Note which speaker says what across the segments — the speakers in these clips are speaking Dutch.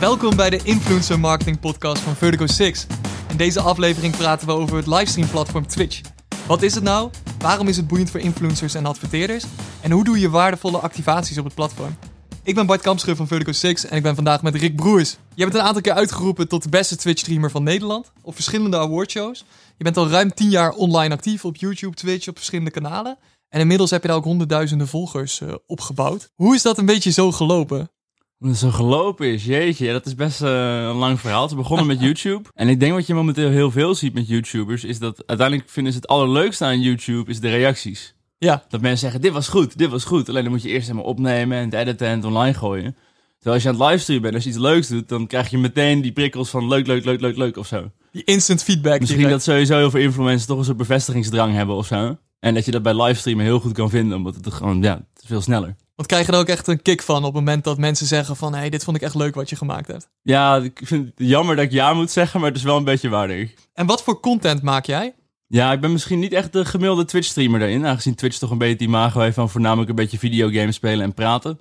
Speaker 1: Welkom bij de Influencer Marketing Podcast van Vertigo 6. In deze aflevering praten we over het livestream platform Twitch. Wat is het nou? Waarom is het boeiend voor influencers en adverteerders? En hoe doe je waardevolle activaties op het platform? Ik ben Bart Kampscheur van Vertigo 6 en ik ben vandaag met Rick Broers. Je bent een aantal keer uitgeroepen tot de beste Twitch-streamer van Nederland op verschillende awardshows. Je bent al ruim 10 jaar online actief op YouTube, Twitch, op verschillende kanalen. En inmiddels heb je daar ook honderdduizenden volgers eh, opgebouwd. Hoe is dat een beetje zo gelopen?
Speaker 2: Hoe het zo gelopen is, jeetje, dat is best eh, een lang verhaal. Ze begonnen met YouTube. En ik denk wat je momenteel heel veel ziet met YouTubers, is dat uiteindelijk vinden ze het allerleukste aan YouTube is de reacties.
Speaker 1: Ja,
Speaker 2: Dat mensen zeggen, dit was goed, dit was goed. Alleen dan moet je eerst helemaal opnemen en het editen en het online gooien. Terwijl als je aan het livestreamen bent, als je iets leuks doet, dan krijg je meteen die prikkels van leuk, leuk, leuk, leuk, leuk of zo.
Speaker 1: die instant feedback.
Speaker 2: Misschien
Speaker 1: direct.
Speaker 2: dat sowieso heel veel influencers toch een soort bevestigingsdrang hebben of zo. En dat je dat bij livestreamen heel goed kan vinden, omdat het gewoon, ja, het is veel sneller.
Speaker 1: Want krijg je er ook echt een kick van op het moment dat mensen zeggen van... hé, hey, dit vond ik echt leuk wat je gemaakt hebt.
Speaker 2: Ja, ik vind het jammer dat ik ja moet zeggen, maar het is wel een beetje waardig.
Speaker 1: En wat voor content maak jij?
Speaker 2: Ja, ik ben misschien niet echt de gemiddelde Twitch-streamer daarin. Aangezien Twitch toch een beetje die imago heeft van voornamelijk een beetje videogames spelen en praten.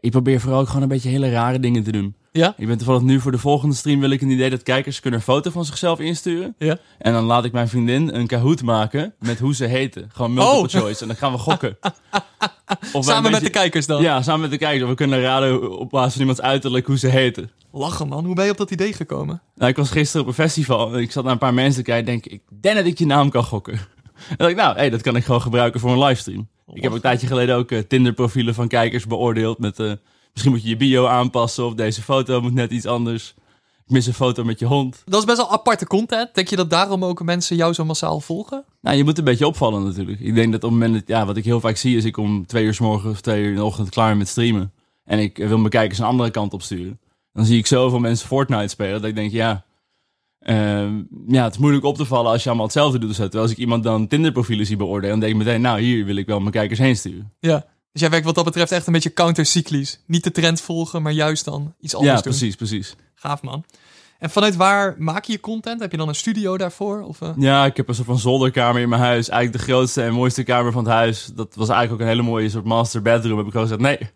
Speaker 2: Ik probeer vooral ook gewoon een beetje hele rare dingen te doen.
Speaker 1: Ja?
Speaker 2: Ik ben toevallig nu voor de volgende stream wil ik een idee dat kijkers kunnen een foto van zichzelf insturen.
Speaker 1: Ja.
Speaker 2: En dan laat ik mijn vriendin een Kahoot maken met hoe ze heten. Gewoon multiple
Speaker 1: Oh.
Speaker 2: choice. En dan gaan we gokken. Of wij een
Speaker 1: Samen met de
Speaker 2: beetje-
Speaker 1: kijkers dan.
Speaker 2: Ja, samen met de kijkers. Of we kunnen raden op basis van iemands uiterlijk hoe ze heten.
Speaker 1: Lachen man, hoe ben je op dat idee gekomen?
Speaker 2: Nou, ik was gisteren op een festival en ik zat naar een paar mensen te kijken. Denk ik, denk dat ik je naam kan gokken. En dacht ik, nou, hey, dat kan ik gewoon gebruiken voor mijn livestream. Ik heb een tijdje geleden ook eh, Tinder-profielen van kijkers beoordeeld. Met eh, misschien moet je je bio aanpassen of deze foto moet net iets anders. Ik mis een foto met je hond.
Speaker 1: Dat is best wel aparte content. Denk je dat daarom ook mensen jou zo massaal volgen?
Speaker 2: Nou, je moet een beetje opvallen natuurlijk. Ik denk dat op het moment dat, ja, wat ik heel vaak zie is ik om twee uur s morgen of twee uur in de ochtend klaar met streamen. En ik eh, wil mijn kijkers een andere kant op sturen. Dan zie ik zoveel mensen Fortnite spelen dat ik denk, ja, ehm, ja, het is moeilijk op te vallen als je allemaal hetzelfde doet. Dus terwijl als ik iemand dan Tinder profielen zie beoordelen, dan denk ik meteen, nou, hier wil ik wel mijn kijkers heen sturen.
Speaker 1: Ja. Dus jij werkt wat dat betreft echt een beetje countercyclisch. Niet de trend volgen, maar juist dan iets anders
Speaker 2: ja,
Speaker 1: doen.
Speaker 2: precies, precies.
Speaker 1: Gaaf man. En vanuit waar maak je je content? Heb je dan een studio daarvoor? Of, eh?
Speaker 2: Ja, ik heb een soort van zolderkamer in mijn huis. Eigenlijk de grootste en mooiste kamer van het huis. Dat was eigenlijk ook een hele mooie soort master bedroom. Heb ik gewoon gezegd, nee,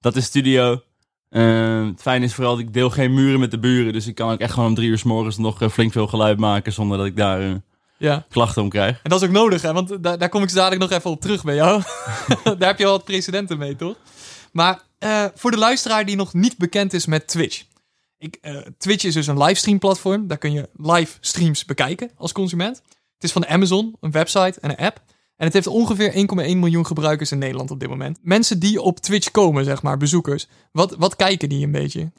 Speaker 2: dat is studio. Ehm, het fijne is vooral, dat ik deel geen muren met de buren. Dus ik kan ook echt gewoon om drie uur s morgens nog eh, flink veel geluid maken... zonder dat ik daar eh,
Speaker 1: Ja.
Speaker 2: klachten om krijg.
Speaker 1: En dat is ook nodig, hè? want daar, daar kom ik zo dadelijk nog even op terug bij jou. daar heb je al wat precedenten mee, toch? Maar eh, voor de luisteraar die nog niet bekend is met Twitch. Ik, eh, Twitch is dus een livestream platform. Daar kun je live streams bekijken als consument. Het is van Amazon, een website en een app. En het heeft ongeveer 1,1 miljoen gebruikers in Nederland op dit moment. Mensen die op Twitch komen, zeg maar, bezoekers. Wat, wat kijken die een beetje?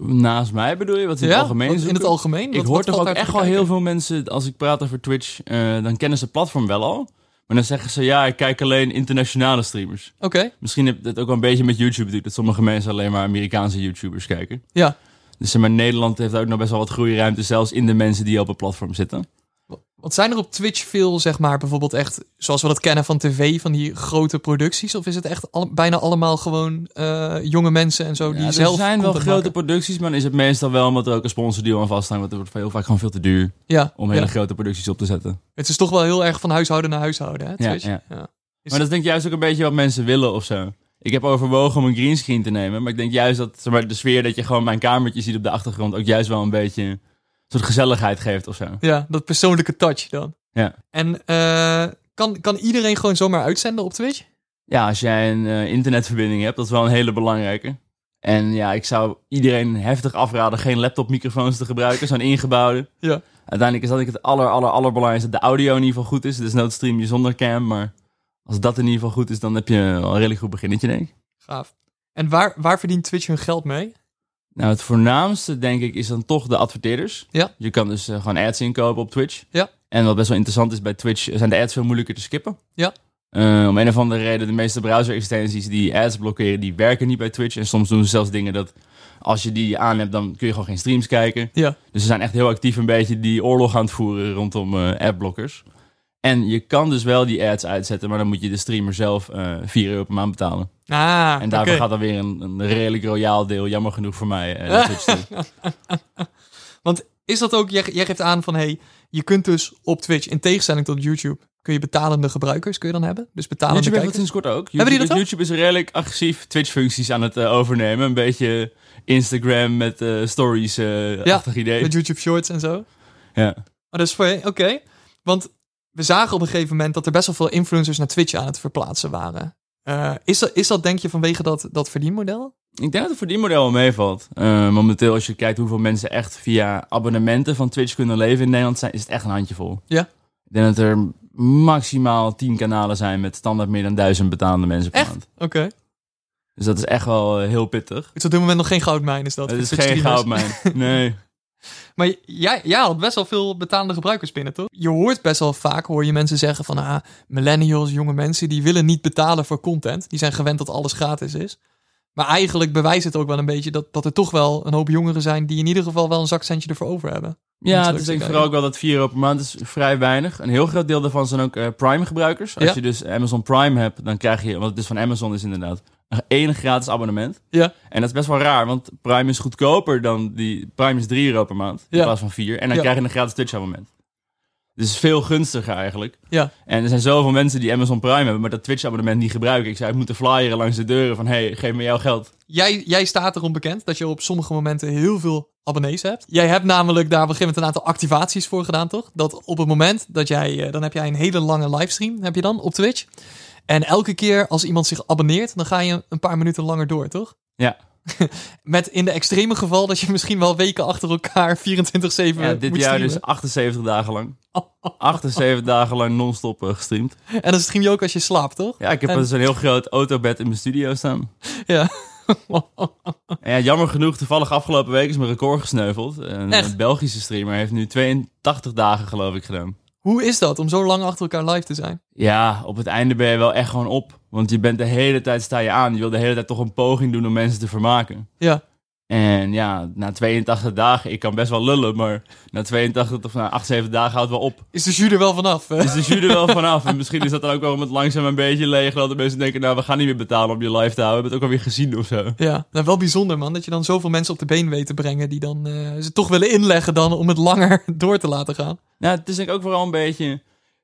Speaker 2: Naast mij bedoel je? Wat is in het algemeen?
Speaker 1: wat- in het
Speaker 2: zoeken?
Speaker 1: algemeen?
Speaker 2: Ik
Speaker 1: Wat-
Speaker 2: hoor
Speaker 1: wat
Speaker 2: toch
Speaker 1: valt daar
Speaker 2: ook
Speaker 1: te
Speaker 2: echt wel
Speaker 1: bekijken?
Speaker 2: heel veel mensen, als ik praat over Twitch... eh, dan kennen ze het platform wel al. Maar dan zeggen ze, ja, ik kijk alleen internationale streamers.
Speaker 1: Oké,
Speaker 2: Misschien heb je dat ook wel een beetje met YouTube natuurlijk. Dat sommige mensen alleen maar Amerikaanse YouTubers kijken.
Speaker 1: ja.
Speaker 2: Dus zeg maar Nederland heeft ook nog best wel wat groeiruimte. Zelfs in de mensen die op het platform zitten.
Speaker 1: Want zijn er op Twitch veel, zeg maar, bijvoorbeeld echt, zoals we dat kennen van tv, van die grote producties? Of is het echt al- bijna allemaal gewoon eh, jonge mensen en zo die
Speaker 2: Ja,
Speaker 1: zelf
Speaker 2: er zijn wel
Speaker 1: content
Speaker 2: grote
Speaker 1: maken?
Speaker 2: producties, maar dan is het meestal wel omdat er ook een sponsordeal aan vasthangt. Want het wordt heel vaak gewoon veel te duur
Speaker 1: Ja,
Speaker 2: om
Speaker 1: ja.
Speaker 2: hele grote producties op te zetten.
Speaker 1: het is toch wel heel erg van huishouden naar huishouden, hè, Twitch?
Speaker 2: ja.
Speaker 1: Is-
Speaker 2: Maar dat is denk ik juist ook een beetje wat mensen willen of zo. Ik heb overwogen om een greenscreen te nemen. Maar ik denk juist dat zeg maar, de sfeer dat je gewoon mijn kamertje ziet op de achtergrond... ook juist wel een beetje een soort gezelligheid geeft of zo.
Speaker 1: Ja, dat persoonlijke touch dan.
Speaker 2: Ja.
Speaker 1: En eh, kan, kan iedereen gewoon zomaar uitzenden op Twitch?
Speaker 2: Ja, als jij een eh, internetverbinding hebt, dat is wel een hele belangrijke. En ja, ik zou iedereen heftig afraden geen laptopmicrofoons te gebruiken, zo'n ingebouwde.
Speaker 1: Ja.
Speaker 2: Uiteindelijk is dat ik het aller, aller, allerbelangrijkste, dat de audio in ieder geval goed is. Dus noodstream je zonder cam, maar als dat in ieder geval goed is, dan heb je al een redelijk goed beginnetje, denk ik.
Speaker 1: Gaaf. En waar, waar verdient Twitch hun geld mee?
Speaker 2: Nou, het voornaamste, denk ik, is dan toch de adverteerders.
Speaker 1: Ja.
Speaker 2: Je kan dus eh, gewoon ads inkopen op Twitch.
Speaker 1: Ja.
Speaker 2: En wat best wel interessant is bij Twitch, eh, zijn de ads veel moeilijker te skippen.
Speaker 1: Ja.
Speaker 2: Eh, om een of andere reden, de meeste browser-extensies die ads blokkeren, die werken niet bij Twitch. En soms doen ze zelfs dingen dat als je die aan hebt, dan kun je gewoon geen streams kijken.
Speaker 1: Ja.
Speaker 2: Dus ze zijn echt heel actief een beetje die oorlog aan het voeren rondom eh adblockers. En je kan dus wel die ads uitzetten, maar dan moet je de streamer zelf eh 4 euro per maand betalen.
Speaker 1: Ah,
Speaker 2: En daarvoor
Speaker 1: oké.
Speaker 2: gaat dan weer een, een redelijk royaal deel, jammer genoeg voor mij, eh, naar Twitch toe.
Speaker 1: Want is dat ook, jij, jij geeft aan van, hey, je kunt dus op Twitch, in tegenstelling tot YouTube, kun je betalende gebruikers kun je dan hebben. Dus betalende
Speaker 2: YouTube heeft dat
Speaker 1: kijkers.
Speaker 2: sinds kort ook. YouTube,
Speaker 1: Hebben die dat ook?
Speaker 2: YouTube is redelijk agressief Twitch-functies aan het eh, overnemen. Een beetje Instagram met eh, stories eh
Speaker 1: Ja,
Speaker 2: achtig idee.
Speaker 1: Met YouTube Shorts en zo. Maar
Speaker 2: Ja.
Speaker 1: dat is voor oké. Want we zagen op een gegeven moment dat er best wel veel influencers naar Twitch aan het verplaatsen waren. Eh, is, dat, is dat denk je vanwege dat, dat verdienmodel?
Speaker 2: Ik denk dat het verdienmodel wel meevalt. Eh, momenteel, als je kijkt hoeveel mensen echt via abonnementen van Twitch kunnen leven in Nederland, zijn, is het echt een handjevol.
Speaker 1: Ja.
Speaker 2: Ik denk dat er maximaal 10 kanalen zijn met standaard meer dan duizend betalende mensen per
Speaker 1: Echt?
Speaker 2: maand.
Speaker 1: Oké.
Speaker 2: Dus dat is echt wel eh, heel pittig.
Speaker 1: Het is op dit moment nog geen goudmijn, is dat?
Speaker 2: Het
Speaker 1: voor
Speaker 2: is
Speaker 1: Twitch
Speaker 2: geen
Speaker 1: streamers.
Speaker 2: goudmijn. Nee.
Speaker 1: Maar jij, jij had best wel veel betalende gebruikers binnen, toch? Je hoort best wel vaak, hoor je mensen zeggen van... Ah, millennials, jonge mensen, die willen niet betalen voor content. Die zijn gewend dat alles gratis is. Maar eigenlijk bewijst het ook wel een beetje dat, dat er toch wel een hoop jongeren zijn... die in ieder geval wel een zakcentje ervoor over hebben.
Speaker 2: Ja,
Speaker 1: terug
Speaker 2: het is
Speaker 1: te
Speaker 2: denk
Speaker 1: kijken.
Speaker 2: ik vooral ook wel dat 4 euro per maand is vrij weinig. Een heel groot deel daarvan zijn ook eh, Prime-gebruikers. Als
Speaker 1: Ja.
Speaker 2: je dus Amazon Prime hebt, dan krijg je, want het is van Amazon is inderdaad, een enig gratis abonnement.
Speaker 1: Ja.
Speaker 2: En dat is best wel raar, want Prime is goedkoper dan die... Prime is 3 euro per maand in
Speaker 1: Ja.
Speaker 2: plaats van 4. En dan
Speaker 1: Ja.
Speaker 2: krijg je een gratis Twitch-abonnement. Dus veel gunstiger eigenlijk.
Speaker 1: Ja.
Speaker 2: En er zijn zoveel mensen die Amazon Prime hebben, maar dat Twitch-abonnement niet gebruiken. Ik zou moeten flyeren langs de deuren van, hey, geef me jouw geld.
Speaker 1: Jij, jij staat erom bekend dat je op sommige momenten heel veel abonnees hebt. Jij hebt namelijk daar op een gegeven moment een aantal activaties voor gedaan, toch? Dat op het moment dat jij... eh, Dan heb jij een hele lange livestream, heb je dan, op Twitch. En elke keer als iemand zich abonneert, dan ga je een paar minuten langer door, toch?
Speaker 2: Ja.
Speaker 1: Met in de extreme geval dat je misschien wel weken achter elkaar 24-7
Speaker 2: Ja,
Speaker 1: moet
Speaker 2: dit jaar
Speaker 1: streamen.
Speaker 2: dus 78 dagen lang. 78 dagen lang non-stop eh, gestreamd.
Speaker 1: En dan stream je ook als je slaapt, toch?
Speaker 2: Ja, ik heb
Speaker 1: En-
Speaker 2: dus een heel groot autobed in mijn studio staan.
Speaker 1: Ja.
Speaker 2: En ja, jammer genoeg, toevallig afgelopen week is mijn record gesneuveld. Een
Speaker 1: Echt?
Speaker 2: Belgische streamer heeft nu 82 dagen geloof ik gedaan.
Speaker 1: Hoe is dat om zo lang achter elkaar live te zijn?
Speaker 2: Ja, op het einde ben je wel echt gewoon op. Want je bent de hele tijd sta je aan. Je wil de hele tijd toch een poging doen om mensen te vermaken.
Speaker 1: Ja.
Speaker 2: En ja, na 82 dagen, ik kan best wel lullen, maar na 82 of na 78 dagen houdt het wel op.
Speaker 1: Is de jury er wel vanaf? eh?
Speaker 2: Dus de jury er wel vanaf. En misschien is dat dan ook wel om het langzaam een beetje leeg. Dat mensen denken, nou, we gaan niet meer betalen om je live te houden. We hebben het ook alweer gezien of zo.
Speaker 1: Ja, nou wel bijzonder man, dat je dan zoveel mensen op de been weet te brengen die dan eh, ze toch willen inleggen dan om het langer door te laten gaan.
Speaker 2: Nou, het is denk ik ook vooral een beetje...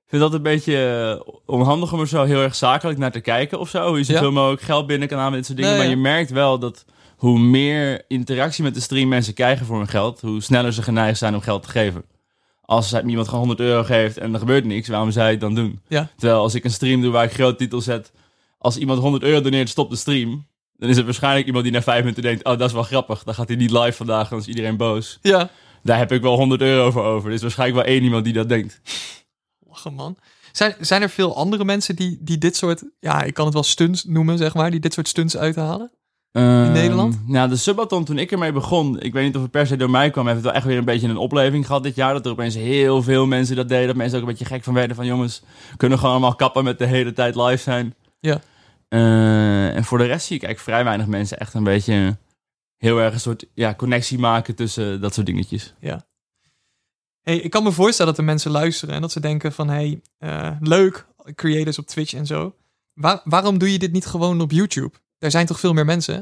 Speaker 2: Ik vind dat een beetje eh, onhandig om er zo heel erg zakelijk naar te kijken of zo. Hoe je zoveel mogelijk geld binnen kan halen met dit soort dingen.
Speaker 1: Nee,
Speaker 2: maar
Speaker 1: ja.
Speaker 2: je merkt wel dat hoe meer interactie met de stream mensen krijgen voor hun geld... hoe sneller ze geneigd zijn om geld te geven. Als zij- iemand gewoon 100 euro geeft en er gebeurt niks, waarom zou je het dan doen?
Speaker 1: Ja.
Speaker 2: Terwijl als ik een stream doe waar ik groot titel zet... als iemand 100 euro doneert, stopt de stream... dan is er waarschijnlijk iemand die na vijf minuten denkt... oh, dat is wel grappig, dan gaat hij niet live vandaag, dan is iedereen boos.
Speaker 1: Ja,
Speaker 2: Daar heb ik wel 100 euro voor over. Er is waarschijnlijk wel één iemand die dat denkt.
Speaker 1: lachen man. Zijn, zijn er veel andere mensen die, die dit soort, ja ik kan het wel stunts noemen zeg maar, die dit soort stunts uithalen?
Speaker 2: In
Speaker 1: Nederland?
Speaker 2: Nou, de subathon toen ik ermee begon, ik weet niet of het per se door mij kwam, heeft het wel echt weer een beetje een opleving gehad dit jaar. Dat er opeens heel veel mensen dat deden. Dat mensen ook een beetje gek van werden van jongens, kunnen gewoon allemaal kappen met de hele tijd live zijn.
Speaker 1: Ja.
Speaker 2: Eh, en voor de rest zie ik eigenlijk vrij weinig mensen echt een beetje heel erg een soort ja, connectie maken tussen dat soort dingetjes.
Speaker 1: Hey, ik kan me voorstellen dat er mensen luisteren en dat ze denken van hey, eh, leuk, creators op Twitch en zo. Waar- waarom doe je dit niet gewoon op YouTube? Daar zijn toch veel meer mensen? hè?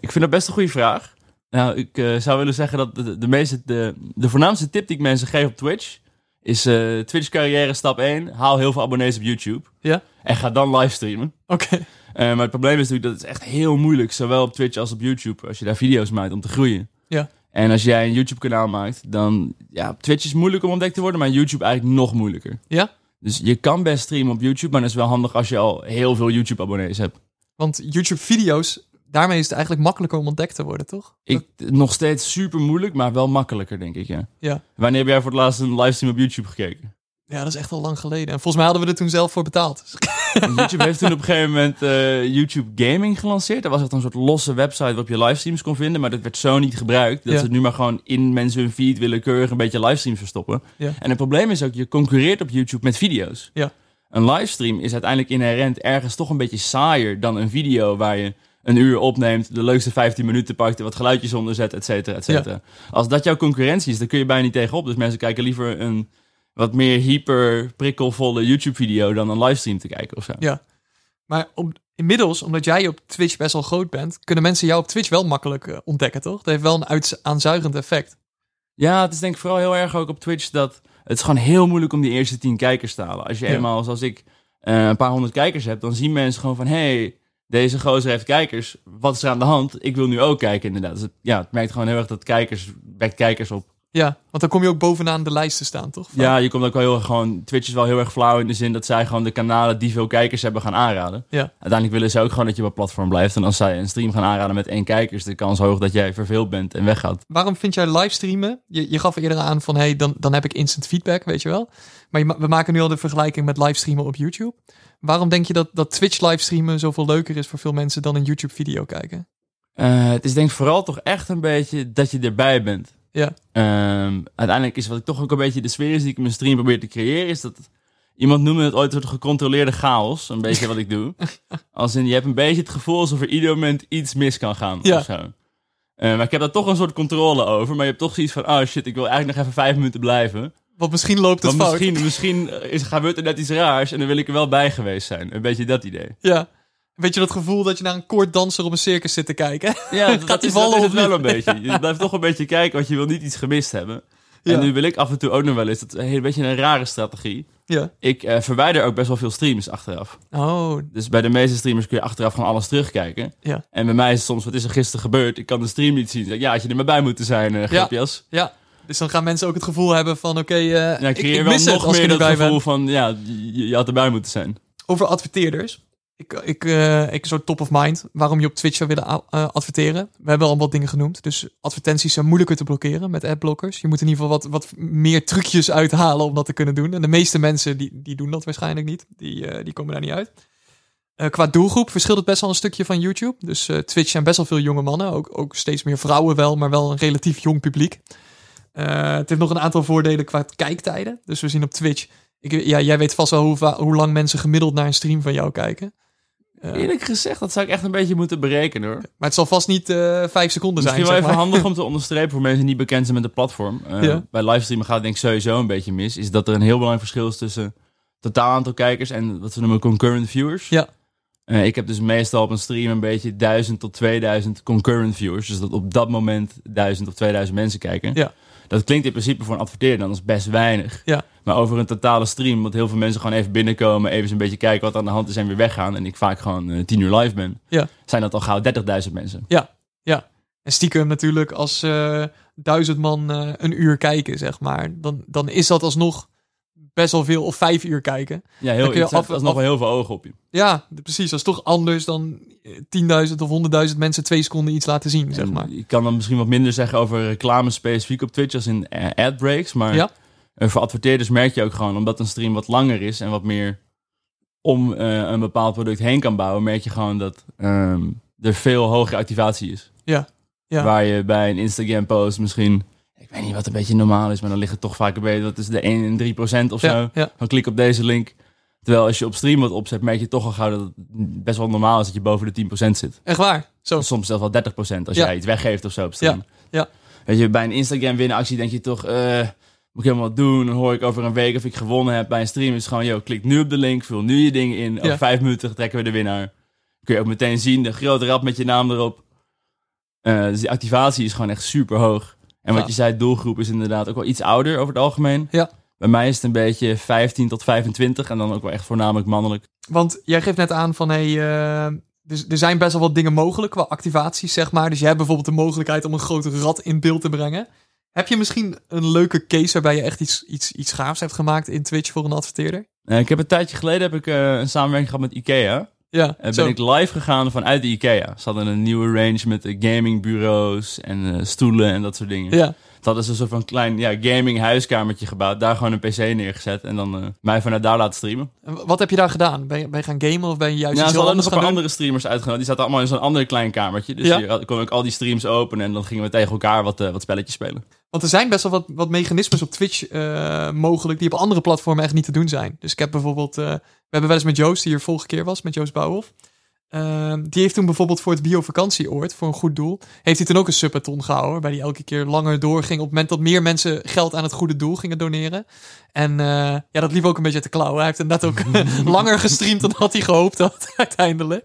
Speaker 2: Ik vind dat best een goede vraag. Nou, ik eh, zou willen zeggen dat de, de, meeste, de, de voornaamste tip die ik mensen geef op Twitch is eh, Twitch carrière stap 1. Haal heel veel abonnees op YouTube.
Speaker 1: Ja.
Speaker 2: En ga dan livestreamen.
Speaker 1: Oké,
Speaker 2: Eh, maar het probleem is natuurlijk dat het echt heel moeilijk zowel op Twitch als op YouTube, als je daar video's maakt, om te groeien.
Speaker 1: Ja.
Speaker 2: En als jij een YouTube-kanaal maakt, dan... Ja, op Twitch is moeilijk om ontdekt te worden, maar YouTube eigenlijk nog moeilijker.
Speaker 1: Ja.
Speaker 2: Dus je kan best streamen op YouTube, maar dat is wel handig als je al heel veel YouTube-abonnees hebt.
Speaker 1: want YouTube video's, daarmee is het eigenlijk makkelijker om ontdekt te worden toch?
Speaker 2: Ik, nog steeds super moeilijk, maar wel makkelijker, denk ik, ja.
Speaker 1: Ja.
Speaker 2: Wanneer heb jij voor het laatst een livestream op YouTube gekeken?
Speaker 1: Ja, dat is echt al lang geleden. En volgens mij hadden we er toen zelf voor betaald.
Speaker 2: YouTube heeft toen op een gegeven moment eh, YouTube Gaming gelanceerd. Dat was echt een soort losse website waarop je livestreams kon vinden. Maar dat werd zo niet gebruikt dat
Speaker 1: Ja.
Speaker 2: ze het nu maar gewoon in mensen hun feed willekeurig een beetje livestreams verstoppen.
Speaker 1: Ja.
Speaker 2: En het probleem is ook, je concurreert op YouTube met video's.
Speaker 1: Ja.
Speaker 2: Een livestream is uiteindelijk inherent ergens toch een beetje saaier dan een video waar je een uur opneemt, de leukste 15 minuten pakt, er wat geluidjes onder zet, et cetera, et cetera. Als dat jouw concurrentie is, dan kun je bijna niet tegenop. Dus mensen kijken liever een wat meer hyper prikkelvolle YouTube-video dan een livestream te kijken of zo.
Speaker 1: Maar om, inmiddels, omdat jij op Twitch best wel groot bent, kunnen mensen jou op Twitch wel makkelijk eh, ontdekken, toch? Dat heeft wel een uits- aanzuigend effect.
Speaker 2: Ja, het is denk ik vooral heel erg ook op Twitch dat Het is gewoon heel moeilijk om die eerste tien kijkers te halen. Als je
Speaker 1: Ja.
Speaker 2: eenmaal, zoals ik, eh, een paar honderd kijkers hebt, dan zien mensen gewoon van... hey, deze gozer heeft kijkers. Wat is er aan de hand? Ik wil nu ook kijken, inderdaad. Dus het, ja, het merkt gewoon heel erg dat kijkers... wekt kijkers op.
Speaker 1: Ja, want dan kom je ook bovenaan de lijst te staan, toch? Vaak.
Speaker 2: Ja, je komt ook wel heel erg gewoon... Twitch is wel heel erg flauw in de zin dat zij gewoon de kanalen die veel kijkers hebben gaan aanraden.
Speaker 1: Ja.
Speaker 2: Uiteindelijk willen ze ook gewoon dat je op het platform blijft. En als zij een stream gaan aanraden met één kijker, is de kans hoog dat jij verveeld bent en weggaat.
Speaker 1: Waarom vind jij livestreamen? Je, je gaf eerder aan van, hey, dan, dan heb ik instant feedback, weet je wel. Maar je ma- we maken nu al de vergelijking met livestreamen op YouTube. Waarom denk je dat, dat Twitch livestreamen zoveel leuker is voor veel mensen dan een YouTube video kijken?
Speaker 2: Eh, het is denk ik vooral toch echt een beetje dat je erbij bent.
Speaker 1: Ja.
Speaker 2: Ehm, uiteindelijk is wat ik toch ook een beetje de sfeer is die ik in mijn stream probeer te creëren, is dat iemand noemde het ooit een soort gecontroleerde chaos, een beetje wat ik doe. Als in, je hebt een beetje het gevoel alsof er ieder moment iets mis kan gaan
Speaker 1: Ja.
Speaker 2: of zo. Eh, maar ik heb daar toch een soort controle over, maar je hebt toch zoiets van, oh shit, ik wil eigenlijk nog even vijf minuten blijven.
Speaker 1: Want misschien loopt het
Speaker 2: Want
Speaker 1: fout.
Speaker 2: misschien, misschien is, gebeurt er net iets raars en dan wil ik er wel bij geweest zijn. Een beetje dat idee.
Speaker 1: Ja. Weet je dat gevoel dat je naar een kort danser op een circus zit te kijken?
Speaker 2: Ja, dat,
Speaker 1: Gaat
Speaker 2: dat
Speaker 1: die
Speaker 2: is,
Speaker 1: vallen
Speaker 2: dat is
Speaker 1: of
Speaker 2: het wel
Speaker 1: niet?
Speaker 2: een beetje. Je blijft toch een beetje kijken, want je wil niet iets gemist hebben.
Speaker 1: Ja.
Speaker 2: En nu wil ik af en toe ook nog wel eens, dat is een heel- beetje een rare strategie.
Speaker 1: ja.
Speaker 2: Ik eh, verwijder ook best wel veel streams achteraf.
Speaker 1: Oh,
Speaker 2: Dus bij de meeste streamers kun je achteraf gewoon alles terugkijken.
Speaker 1: Ja.
Speaker 2: En bij mij is het soms, wat is er gisteren gebeurd? Ik kan de stream niet zien. Zeg, ik, ja, had je er maar bij moeten zijn, eh
Speaker 1: Ja.
Speaker 2: GPS.
Speaker 1: ja. Dus dan gaan mensen ook het gevoel hebben van, oké, eh,
Speaker 2: Ja, ik
Speaker 1: ik,
Speaker 2: creëer
Speaker 1: ik
Speaker 2: wel
Speaker 1: mis het
Speaker 2: nog
Speaker 1: als ik
Speaker 2: meer
Speaker 1: er
Speaker 2: dat
Speaker 1: niet bij
Speaker 2: gevoel
Speaker 1: ben.
Speaker 2: van, ja, je, je had erbij moeten zijn.
Speaker 1: Over adverteerders. Ik, ik, eh, ik zo top of mind waarom je op Twitch zou willen a- eh, adverteren. We hebben al wat dingen genoemd. Dus advertenties zijn moeilijker te blokkeren met adblockers. Je moet in ieder geval wat, wat meer trucjes uithalen om dat te kunnen doen. En de meeste mensen die, die doen dat waarschijnlijk niet. Die, eh, die komen daar niet uit. Eh, qua doelgroep verschilt het best wel een stukje van YouTube. Dus eh, Twitch zijn best wel veel jonge mannen. Ook, ook steeds meer vrouwen wel, maar wel een relatief jong publiek. Eh, het heeft nog een aantal voordelen qua kijktijden. Dus we zien op Twitch. Ik, ja, jij weet vast wel hoe, va- hoe lang mensen gemiddeld naar een stream van jou kijken. Eh,
Speaker 2: Eerlijk gezegd, dat zou ik echt een beetje moeten berekenen hoor.
Speaker 1: maar het zal vast niet eh, vijf seconden
Speaker 2: Misschien wel
Speaker 1: zijn. zeg
Speaker 2: even
Speaker 1: maar.
Speaker 2: handig om te onderstrepen voor mensen die niet bekend zijn met het platform. Eh,
Speaker 1: Ja.
Speaker 2: Bij livestreamen gaat het denk ik sowieso een beetje mis. Is dat er een heel belangrijk verschil is tussen totaal aantal kijkers en wat we noemen concurrent viewers.
Speaker 1: Ja.
Speaker 2: Eh, ik heb dus meestal op een stream een beetje 1000 tot 2000 concurrent viewers. Dus dat op dat moment 1000 of 2000 mensen kijken.
Speaker 1: Ja.
Speaker 2: Dat klinkt in principe voor een adverteerder dan als best weinig.
Speaker 1: Ja.
Speaker 2: Maar over een totale stream, want heel veel mensen gewoon even binnenkomen, even een beetje kijken wat aan de hand is en weer weggaan. En ik vaak gewoon eh, 10 uur live ben.
Speaker 1: Ja.
Speaker 2: Zijn dat al gauw 30.000 mensen.
Speaker 1: En stiekem natuurlijk als eh, duizend man eh, een uur kijken, zeg maar. Dan, dan is dat alsnog best wel veel, of vijf uur kijken.
Speaker 2: Ja,
Speaker 1: Dan
Speaker 2: heel,
Speaker 1: kun je
Speaker 2: er staat
Speaker 1: af-
Speaker 2: alsnog
Speaker 1: af-
Speaker 2: wel heel veel ogen op je.
Speaker 1: Ja, d- precies. Dat is toch anders dan eh, 10.000 of 100.000 mensen twee seconden iets laten zien, zeg
Speaker 2: En
Speaker 1: maar.
Speaker 2: Ik kan dan misschien wat minder zeggen over reclame specifiek op Twitch als in eh, adbreaks. Maar
Speaker 1: Ja.
Speaker 2: eh, voor adverteerders merk je ook gewoon, omdat een stream wat langer is en wat meer om eh, een bepaald product heen kan bouwen, merk je gewoon dat ehm, er veel hogere activatie is.
Speaker 1: Ja. Ja.
Speaker 2: Waar je bij een Instagram post misschien, ik weet niet wat een beetje normaal is, maar dan ligt het toch vaak een beetje dat is de 1 en 3 procent of zo.
Speaker 1: Ja, ja.
Speaker 2: Van klik op deze link. Terwijl als je op stream wat opzet, merk je toch al gauw dat het best wel normaal is dat je boven de 10% zit.
Speaker 1: Echt waar. Zo.
Speaker 2: Soms zelfs wel 30% als
Speaker 1: Ja.
Speaker 2: jij iets weggeeft of zo op stream.
Speaker 1: ja.
Speaker 2: Weet je, bij een Instagram winactie denk je toch... eh, moet ik helemaal wat doen? Dan hoor ik over een week of ik gewonnen heb. Bij een stream is het gewoon... Yo, klik nu op de link, vul nu je dingen in.
Speaker 1: Ja.
Speaker 2: Over vijf minuten trekken we de winnaar. Kun je ook meteen zien, de grote rap met je naam erop. Eh, dus die activatie is gewoon echt super hoog. En wat
Speaker 1: Ja.
Speaker 2: je zei, doelgroep is inderdaad ook wel iets ouder over het algemeen.
Speaker 1: Ja.
Speaker 2: Bij mij is het een beetje 15 tot 25 en dan ook wel echt voornamelijk mannelijk.
Speaker 1: Want jij geeft net aan van, hey, eh, dus er zijn best wel wat dingen mogelijk qua activaties, zeg maar. Dus jij hebt bijvoorbeeld de mogelijkheid om een grote rat in beeld te brengen. Heb je misschien een leuke case waarbij je echt iets, iets, iets gaafs hebt gemaakt in Twitch voor een adverteerder?
Speaker 2: Eh, ik heb een tijdje geleden heb ik, eh, een samenwerking gehad met IKEA.
Speaker 1: Ja,
Speaker 2: En
Speaker 1: zo.
Speaker 2: Eh, ben ik live gegaan vanuit de IKEA. Ze hadden een nieuwe range met eh, gamingbureaus en eh, stoelen en dat soort dingen.
Speaker 1: ja.
Speaker 2: Dat is een soort van klein ja, gaming huiskamertje gebouwd. Daar gewoon een pc neergezet en dan eh, mij vanuit daar laten streamen.
Speaker 1: En Wat heb je daar gedaan? Ben je, ben je gaan gamen of ben je juist
Speaker 2: Ja,
Speaker 1: iets
Speaker 2: ze
Speaker 1: heel
Speaker 2: hadden Nou, nog
Speaker 1: anders
Speaker 2: een
Speaker 1: gaan
Speaker 2: paar
Speaker 1: doen?
Speaker 2: andere streamers uitgenodigd. Die zaten allemaal in zo'n ander klein kamertje. Dus
Speaker 1: Ja.
Speaker 2: hier had- kon ik al die streams openen en dan gingen we tegen elkaar wat, eh, wat spelletjes spelen.
Speaker 1: Want er zijn best wel wat, wat mechanismes op Twitch eh, mogelijk die op andere platformen echt niet te doen zijn. Dus ik heb bijvoorbeeld, eh, we hebben wel eens met Joost, die hier vorige keer was, met Joost Bouwhoff. Ehm, die heeft toen bijvoorbeeld voor het bio-vakantieoord, voor een goed doel, heeft hij toen ook een subathon gehouden. Waar hij elke keer langer doorging op het moment dat meer mensen geld aan het goede doel gingen doneren. En eh, ja, dat liep ook een beetje uit de klauwen. Hij heeft inderdaad ook langer gestreamd dan had hij gehoopt had, uiteindelijk.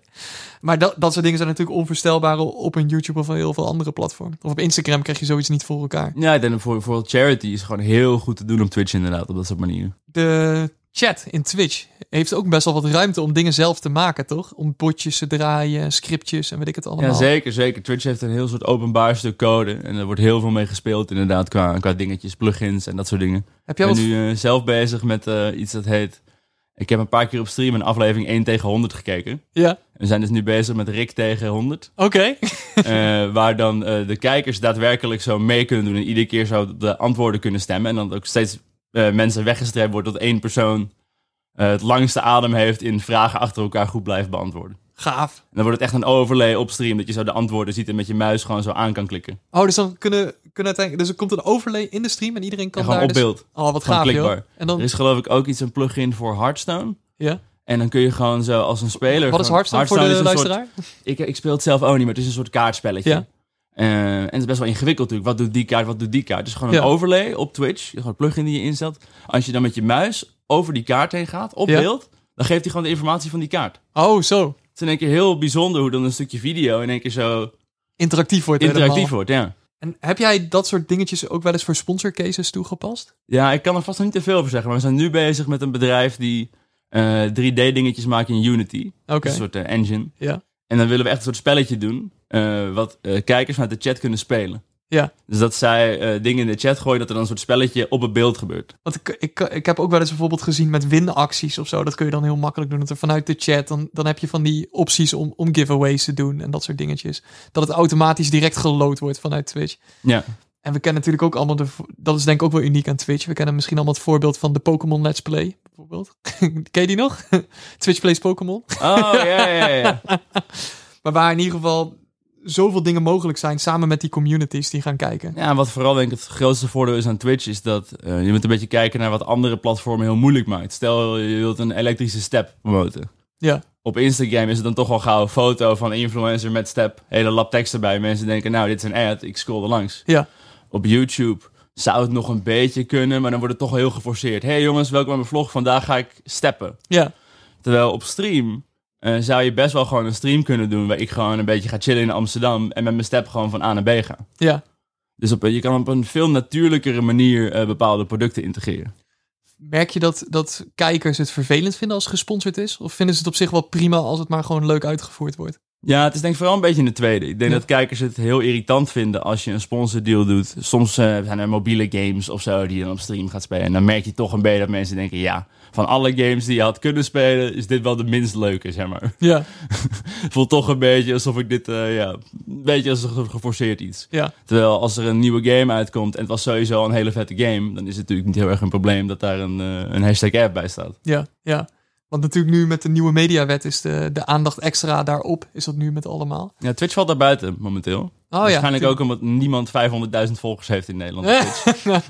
Speaker 1: Maar dat, dat soort dingen zijn natuurlijk onvoorstelbaar op een YouTube of heel veel andere platformen. Of op Instagram krijg je zoiets niet voor elkaar.
Speaker 2: Ja, ik denk dat voor, voor charity is gewoon heel goed te doen op Twitch inderdaad, op dat soort manieren.
Speaker 1: de chat in Twitch heeft ook best wel wat ruimte om dingen zelf te maken, toch? Om botjes te draaien, scriptjes en weet ik het allemaal.
Speaker 2: Ja, zeker, zeker. Twitch heeft een heel soort openbaar stuk code en er wordt heel veel mee gespeeld inderdaad qua, qua dingetjes, plugins en dat soort dingen.
Speaker 1: Heb
Speaker 2: Ik
Speaker 1: jij wat...
Speaker 2: ben nu eh, zelf bezig met eh, iets dat heet... Ik heb een paar keer op stream een aflevering 1 tegen 100 gekeken.
Speaker 1: Ja,
Speaker 2: We zijn dus nu bezig met Rick tegen 100.
Speaker 1: oké.
Speaker 2: eh, waar dan eh, de kijkers daadwerkelijk zo mee kunnen doen. En iedere keer zo de antwoorden kunnen stemmen. En dan ook steeds eh, mensen weggestreept wordt tot één persoon... eh, het langste adem heeft in vragen achter elkaar goed blijft beantwoorden.
Speaker 1: Gaaf.
Speaker 2: En dan wordt het echt een overlay op stream. Dat je zo de antwoorden ziet en met je muis gewoon zo aan kan klikken.
Speaker 1: Oh, dus dan kunnen, kunnen uiteindelijk... Dus er komt een overlay in de stream en iedereen kan
Speaker 2: en gewoon
Speaker 1: daar
Speaker 2: op beeld.
Speaker 1: Dus... Oh, wat
Speaker 2: Gewoon
Speaker 1: gaaf, joh.
Speaker 2: klikbaar.
Speaker 1: En dan...
Speaker 2: Er is geloof ik ook iets een plugin voor Hearthstone.
Speaker 1: Ja.
Speaker 2: En dan kun je gewoon zo als een speler...
Speaker 1: Wat is
Speaker 2: gewoon-
Speaker 1: Hearthstone voor de
Speaker 2: is een soort-
Speaker 1: luisteraar?
Speaker 2: ik, ik speel het zelf ook niet, maar het is een soort kaartspelletje.
Speaker 1: Ja.
Speaker 2: Eh, en het is best wel ingewikkeld natuurlijk. Wat doet die kaart, wat doet die kaart? Het is gewoon een
Speaker 1: Ja.
Speaker 2: overlay op Twitch. Gewoon een plugin die je instelt. Als je dan met je muis over die kaart heen gaat, op
Speaker 1: Ja.
Speaker 2: beeld... dan geeft hij gewoon de informatie van die kaart.
Speaker 1: Oh, zo.
Speaker 2: Het is in één keer heel bijzonder hoe dan een stukje video... in één keer zo
Speaker 1: Interactief wordt het
Speaker 2: interactief
Speaker 1: helemaal.
Speaker 2: wordt, ja.
Speaker 1: En heb jij dat soort dingetjes ook wel eens voor sponsorcases toegepast?
Speaker 2: Ja, ik kan er vast nog niet te veel over zeggen... maar we zijn nu bezig met een bedrijf die... eh, 3D-dingetjes maakt in Unity.
Speaker 1: Oké.
Speaker 2: Een soort eh, engine.
Speaker 1: Ja.
Speaker 2: En dan willen we echt een soort spelletje doen. eh, wat eh, kijkers vanuit de chat kunnen spelen.
Speaker 1: Ja.
Speaker 2: Dus dat zij eh, dingen in de chat gooien, dat er dan een soort spelletje op het beeld gebeurt.
Speaker 1: Want ik, ik, ik heb ook wel eens bijvoorbeeld gezien met winacties of zo. Dat kun je dan heel makkelijk doen. Dat er vanuit de chat, dan, dan heb je van die opties om, om giveaways te doen en dat soort dingetjes. Dat het automatisch direct geloot wordt vanuit Twitch.
Speaker 2: Ja.
Speaker 1: En we kennen natuurlijk ook allemaal, de, vo- dat is denk ik ook wel uniek aan Twitch. We kennen misschien allemaal het voorbeeld van de Pokémon Let's Play, bijvoorbeeld. Ken je die nog? Twitch Plays Pokémon.
Speaker 2: Oh, ja, ja, ja, ja.
Speaker 1: Maar waar in ieder geval zoveel dingen mogelijk zijn samen met die communities die gaan kijken.
Speaker 2: Ja, wat vooral denk ik het grootste voordeel is aan Twitch, is dat eh, je moet een beetje kijken naar wat andere platformen heel moeilijk maakt. Stel, je wilt een elektrische step promoten.
Speaker 1: Ja.
Speaker 2: Op Instagram is het dan toch al gauw een foto van een influencer met step, hele lap tekst erbij. Mensen denken, nou, dit is een ad, ik scroll er langs.
Speaker 1: Ja.
Speaker 2: Op YouTube zou het nog een beetje kunnen, maar dan wordt het toch heel geforceerd. hey jongens, welkom bij mijn vlog, vandaag ga ik steppen.
Speaker 1: Ja.
Speaker 2: Terwijl op stream eh, zou je best wel gewoon een stream kunnen doen waar ik gewoon een beetje ga chillen in Amsterdam en met mijn step gewoon van A naar B ga.
Speaker 1: Ja.
Speaker 2: Dus op, je kan op een veel natuurlijkere manier eh, bepaalde producten integreren.
Speaker 1: Merk je dat, dat kijkers het vervelend vinden als het gesponsord is? Of vinden ze het op zich wel prima als het maar gewoon leuk uitgevoerd wordt?
Speaker 2: Ja, het is denk ik vooral een beetje in de tweede. Ik denk
Speaker 1: Ja.
Speaker 2: dat kijkers het heel irritant vinden als je een sponsordeal doet. Soms eh, zijn er mobiele games of zo die je dan op stream gaat spelen. En dan merk je toch een beetje dat mensen denken, ja, van alle games die je had kunnen spelen, is dit wel de minst leuke, zeg maar.
Speaker 1: Ja.
Speaker 2: Het voelt toch een beetje alsof ik dit, eh, ja, een beetje als een geforceerd iets.
Speaker 1: Ja.
Speaker 2: Terwijl als er een nieuwe game uitkomt en het was sowieso een hele vette game, dan is het natuurlijk niet heel erg een probleem dat daar een, eh, een hashtag app bij staat.
Speaker 1: Ja, ja. Want natuurlijk nu met de nieuwe mediawet is de, de aandacht extra daarop. Is dat nu met allemaal?
Speaker 2: Ja, Twitch valt daar buiten momenteel.
Speaker 1: Oh
Speaker 2: Waarschijnlijk
Speaker 1: ja,
Speaker 2: ook omdat niemand 500.000 volgers heeft in Nederland. op
Speaker 1: Eh.
Speaker 2: Twitch.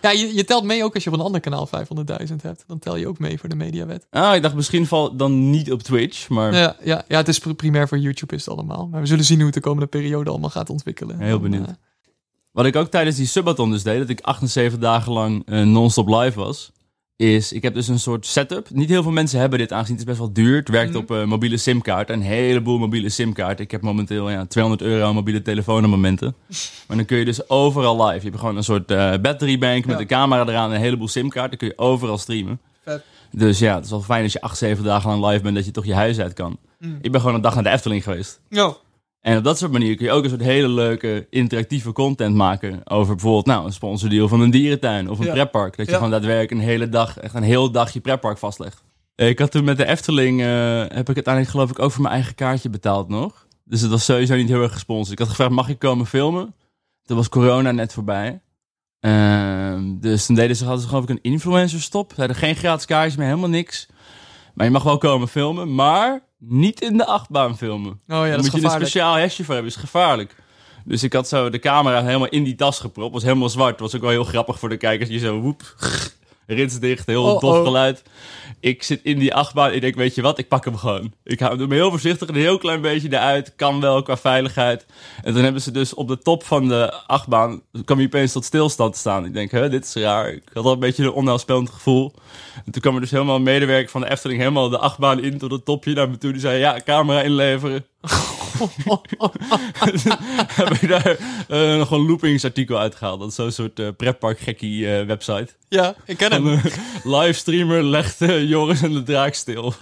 Speaker 1: Ja, je, je telt mee ook als je op een ander kanaal 500.000 hebt. Dan tel je ook mee voor de mediawet.
Speaker 2: Ah, ik dacht misschien valt dan niet op Twitch, maar
Speaker 1: Ja, ja, ja het is pri- primair voor YouTube is het allemaal. Maar we zullen zien hoe het de komende periode allemaal gaat ontwikkelen.
Speaker 2: Heel
Speaker 1: Dan,
Speaker 2: benieuwd.
Speaker 1: eh,
Speaker 2: wat ik ook tijdens die subathon dus deed, dat ik 78 dagen lang eh, non-stop live was, is ik heb dus een soort setup. Niet heel veel mensen hebben dit aangezien het is best wel duur. Het werkt
Speaker 1: Mhm.
Speaker 2: op eh, mobiele simkaart, een heleboel mobiele simkaart. Ik heb momenteel ja, 200 euro aan mobiele telefoonabonnementen. Maar dan kun je dus overal live. Je hebt gewoon een soort eh battery bank met
Speaker 1: Ja.
Speaker 2: een camera eraan, een heleboel simkaart. Dan kun je overal streamen.
Speaker 1: Vet.
Speaker 2: Dus ja, het is wel fijn als je 8, 7 dagen lang live bent, dat je toch je huis uit kan.
Speaker 1: Mm.
Speaker 2: Ik ben gewoon een dag naar de Efteling geweest.
Speaker 1: Ja. Oh,
Speaker 2: En op dat soort manier kun je ook een soort hele leuke interactieve content maken over bijvoorbeeld nou, een sponsordeal van een dierentuin of een
Speaker 1: Ja.
Speaker 2: pretpark. Dat je
Speaker 1: Ja.
Speaker 2: gewoon daadwerkelijk een hele dag, echt een heel dag je pretpark vastlegt. Eh, Ik had toen met de Efteling, eh, heb ik uiteindelijk geloof ik ook voor mijn eigen kaartje betaald nog. Dus het was sowieso niet heel erg gesponsord. Ik had gevraagd, mag ik komen filmen? Toen was corona net voorbij. Ehm, dus toen deden ze, hadden ze geloof ik een influencer stop. Ze hadden geen gratis kaartjes meer, helemaal niks. Maar je mag wel komen filmen, maar niet in de achtbaan filmen.
Speaker 1: Oh ja, dat
Speaker 2: Daar
Speaker 1: is
Speaker 2: moet je dus een
Speaker 1: gevaarlijk.
Speaker 2: speciaal hesje voor hebben, is gevaarlijk. Dus ik had zo de camera helemaal in die tas gepropt. Was helemaal zwart. Was ook wel heel grappig voor de kijkers. Je zo woep. Rits dicht, heel
Speaker 1: Oh,
Speaker 2: dof
Speaker 1: oh.
Speaker 2: geluid. Ik zit in die achtbaan. Ik denk, weet je wat? Ik pak hem gewoon. Ik hou hem heel voorzichtig een heel klein beetje eruit. Kan wel qua veiligheid. En toen hebben ze dus op de top van de achtbaan... kwam hij opeens tot stilstand te staan. Ik denk, hè, dit is raar. Ik had al een beetje een onheilspellend gevoel. En toen kwam er dus helemaal een medewerker van de Efteling... helemaal de achtbaan in tot het topje naar me toe. Die zei, ja, camera inleveren. heb ik daar eh, nog een loopingsartikel uitgehaald. Dat is zo'n soort eh pretpark gekkie website.
Speaker 1: Ja, ik ken
Speaker 2: Van,
Speaker 1: hem.
Speaker 2: eh, livestreamer legt eh, Joris en de draak stil.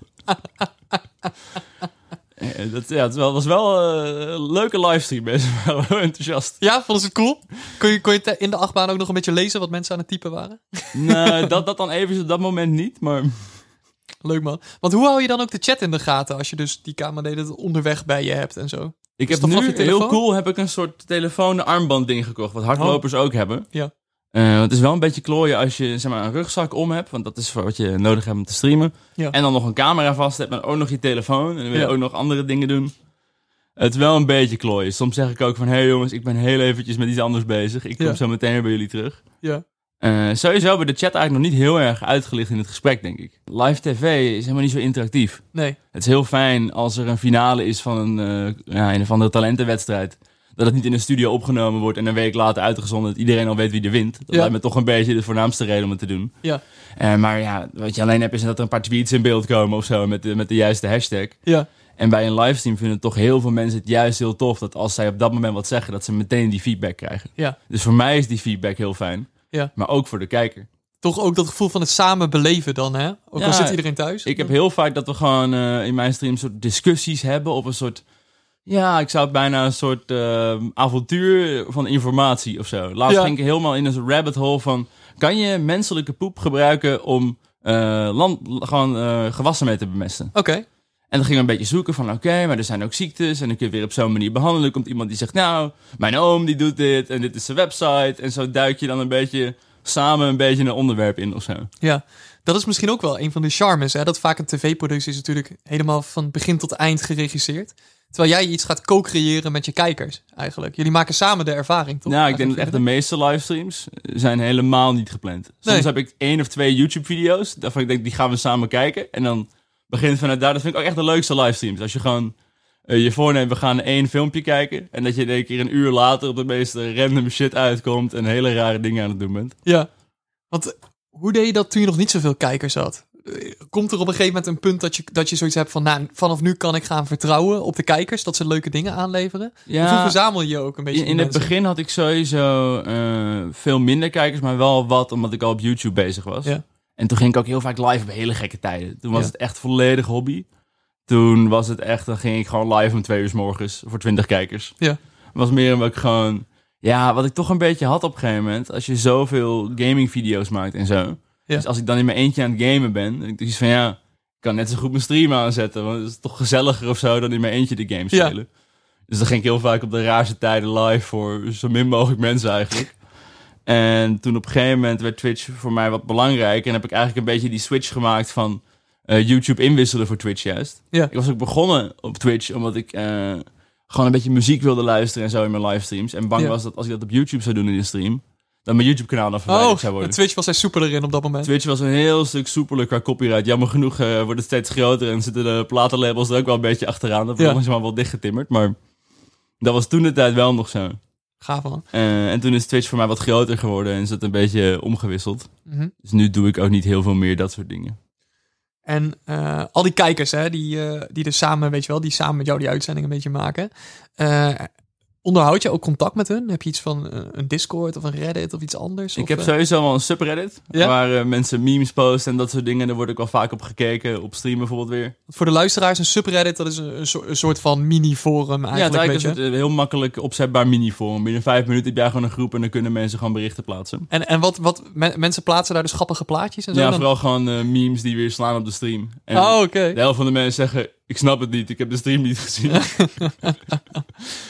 Speaker 2: Eh, dat, ja, het was wel, was wel eh, een leuke livestream. Mensen waren heel enthousiast.
Speaker 1: Ja, vonden ze het cool? Kon je, kon je te- in de achtbaan ook nog een beetje lezen wat mensen aan het typen waren?
Speaker 2: Nee, dat, dat dan even op dat moment niet, maar...
Speaker 1: Leuk man. Want hoe hou je dan ook de chat in de gaten als je dus die camera dat onderweg bij je hebt en zo? Is
Speaker 2: Ik heb
Speaker 1: dat vanaf
Speaker 2: Dus nu,
Speaker 1: je telefoon?
Speaker 2: heel cool, heb ik een soort telefoon armband ding gekocht. Wat hardlopers ook hebben.
Speaker 1: Oh. Ja.
Speaker 2: Eh, het is wel een beetje klooien als je zeg maar, een rugzak om hebt. Want dat is wat je nodig hebt om te streamen.
Speaker 1: Ja.
Speaker 2: En dan nog een camera vast hebt. En ook nog je telefoon. En dan wil je
Speaker 1: Ja.
Speaker 2: ook nog andere dingen doen. Het is wel een beetje klooien. Soms zeg ik ook van... Hé hey jongens, ik ben heel eventjes met iets anders bezig. Ik kom
Speaker 1: Ja.
Speaker 2: zo meteen weer bij jullie terug.
Speaker 1: Ja.
Speaker 2: Eh, sowieso hebben we de chat eigenlijk nog niet heel erg uitgelicht in het gesprek, denk ik. Live tv is helemaal niet zo interactief.
Speaker 1: Nee.
Speaker 2: Het is heel fijn als er een finale is van een, eh, ja, een of andere talentenwedstrijd. Dat het niet in een studio opgenomen wordt en een week later uitgezonden. Dat iedereen al weet wie er wint. Dat
Speaker 1: Ja.
Speaker 2: lijkt me toch een beetje de voornaamste reden om het te doen.
Speaker 1: Ja.
Speaker 2: Eh, maar ja, wat je alleen hebt is dat er een paar tweets in beeld komen of zo met de, met de juiste hashtag.
Speaker 1: Ja.
Speaker 2: En bij een livestream vinden toch heel veel mensen het juist heel tof. Dat als zij op dat moment wat zeggen, dat ze meteen die feedback krijgen.
Speaker 1: Ja.
Speaker 2: Dus voor mij is die feedback heel fijn.
Speaker 1: Ja.
Speaker 2: Maar ook voor de kijker.
Speaker 1: Toch ook dat gevoel van het samen beleven dan, hè? Ook
Speaker 2: Ja,
Speaker 1: al zit iedereen thuis.
Speaker 2: Ik heb heel vaak dat we gewoon eh, in mijn stream soort discussies hebben of een soort... Ja, ik zou het bijna een soort eh, avontuur van informatie of zo. Laatst
Speaker 1: Ja.
Speaker 2: ging ik helemaal in een soort rabbit hole van... Kan je menselijke poep gebruiken om eh, land, gewoon eh, gewassen mee te bemesten?
Speaker 1: Oké.
Speaker 2: En dan gingen we een beetje zoeken van, oké, maar er zijn ook ziektes en dan kun je weer op zo'n manier behandelen. Dan komt iemand die zegt, nou, mijn oom die doet dit en dit is zijn website. En zo duik je dan een beetje samen een beetje een onderwerp in of zo.
Speaker 1: Ja, dat is misschien ook wel een van de charmes. Hè? Dat vaak een tv-productie is natuurlijk helemaal van begin tot eind geregisseerd. Terwijl jij iets gaat co-creëren met je kijkers eigenlijk. Jullie maken samen de ervaring, toch?
Speaker 2: Nou, ik denk dat echt
Speaker 1: Eigenlijk
Speaker 2: de meeste livestreams eh, zijn helemaal niet gepland. Soms
Speaker 1: Nee.
Speaker 2: heb ik één of twee YouTube-video's daarvan ik denk, die gaan we samen kijken. En dan begint vanuit daar. Dat vind ik ook echt de leukste livestreams. Als je gewoon eh, je voorneemt, we gaan één filmpje kijken. En dat je in één keer een uur later op de meeste random shit uitkomt. En hele rare dingen aan het doen bent.
Speaker 1: Ja, want eh, hoe deed je dat toen je nog niet zoveel kijkers had? Eh, Komt er op een gegeven moment een punt dat je, dat je zoiets hebt van... Nou, vanaf nu kan ik gaan vertrouwen op de kijkers dat ze leuke dingen aanleveren? Of hoe verzamel je ook een beetje
Speaker 2: In,
Speaker 1: die
Speaker 2: in het
Speaker 1: mensen?
Speaker 2: begin had ik sowieso eh, veel minder kijkers, maar wel wat, omdat ik al op YouTube bezig was.
Speaker 1: Ja.
Speaker 2: En toen ging ik ook heel vaak live op hele gekke tijden. Toen was
Speaker 1: Ja.
Speaker 2: het echt volledig hobby. Toen was het echt, dan ging ik gewoon live om twee uur 's morgens voor twintig kijkers.
Speaker 1: Ja.
Speaker 2: Was meer omdat ik gewoon, ja, wat ik toch een beetje had op een gegeven moment, als je zoveel gaming video's maakt en zo.
Speaker 1: Ja.
Speaker 2: Dus als ik dan in mijn eentje aan het gamen ben, dan denk ik dus van ja, ik kan net zo goed mijn stream aanzetten, want het is toch gezelliger of zo dan in mijn eentje de game
Speaker 1: Ja.
Speaker 2: spelen. Dus dan ging ik heel vaak op de raarste tijden live voor zo min mogelijk mensen eigenlijk. En toen op een gegeven moment werd Twitch voor mij wat belangrijk. En heb ik eigenlijk een beetje die switch gemaakt van eh, YouTube inwisselen voor Twitch juist.
Speaker 1: Ja.
Speaker 2: Ik was ook begonnen op Twitch omdat ik eh, gewoon een beetje muziek wilde luisteren en zo in mijn livestreams. En bang
Speaker 1: Ja.
Speaker 2: was dat als ik dat op YouTube zou doen in een stream, dan mijn YouTube kanaal dan verwijderd zou
Speaker 1: Oh,
Speaker 2: worden.
Speaker 1: Twitch was hij soepeler in op dat moment.
Speaker 2: Twitch was een heel stuk soepeler qua copyright. Jammer genoeg eh, wordt het steeds groter en zitten de platenlabels er ook wel een beetje achteraan. Dat
Speaker 1: Ja.
Speaker 2: wordt langzaam wel dichtgetimmerd, maar dat was toen de tijd wel nog zo.
Speaker 1: Gaaf man.
Speaker 2: Eh, en toen is Twitch voor mij wat groter geworden en is het een beetje omgewisseld.
Speaker 1: Mhm.
Speaker 2: Dus nu doe ik ook niet heel veel meer dat soort dingen.
Speaker 1: En eh, al die kijkers, hè, die, eh, die er samen, weet je wel, die samen met jou die uitzending een beetje maken. Eh, onderhoud je ook contact met hun? Heb je iets van eh, een Discord of een Reddit of iets anders?
Speaker 2: Ik
Speaker 1: Of,
Speaker 2: heb
Speaker 1: eh,
Speaker 2: sowieso wel een subreddit
Speaker 1: Ja?
Speaker 2: waar eh, mensen memes posten en dat soort dingen. Daar word ik wel vaak op gekeken, op stream bijvoorbeeld weer.
Speaker 1: Voor de luisteraars, een subreddit, dat is een, een soort- een soort van mini-forum
Speaker 2: Ja, het
Speaker 1: eigenlijk,
Speaker 2: is
Speaker 1: weet
Speaker 2: eigenlijk
Speaker 1: je.
Speaker 2: een soort, eh, heel makkelijk opzetbaar mini-forum. Binnen vijf minuten heb jij gewoon een groep en dan kunnen mensen gewoon berichten plaatsen.
Speaker 1: En, en wat, wat men- mensen plaatsen daar dus grappige plaatjes en zo?
Speaker 2: Ja,
Speaker 1: dan?
Speaker 2: vooral gewoon eh, memes die weer slaan op de stream. En
Speaker 1: Oh, oké.
Speaker 2: de helft van de mensen zeggen, ik snap het niet, ik heb de stream niet gezien.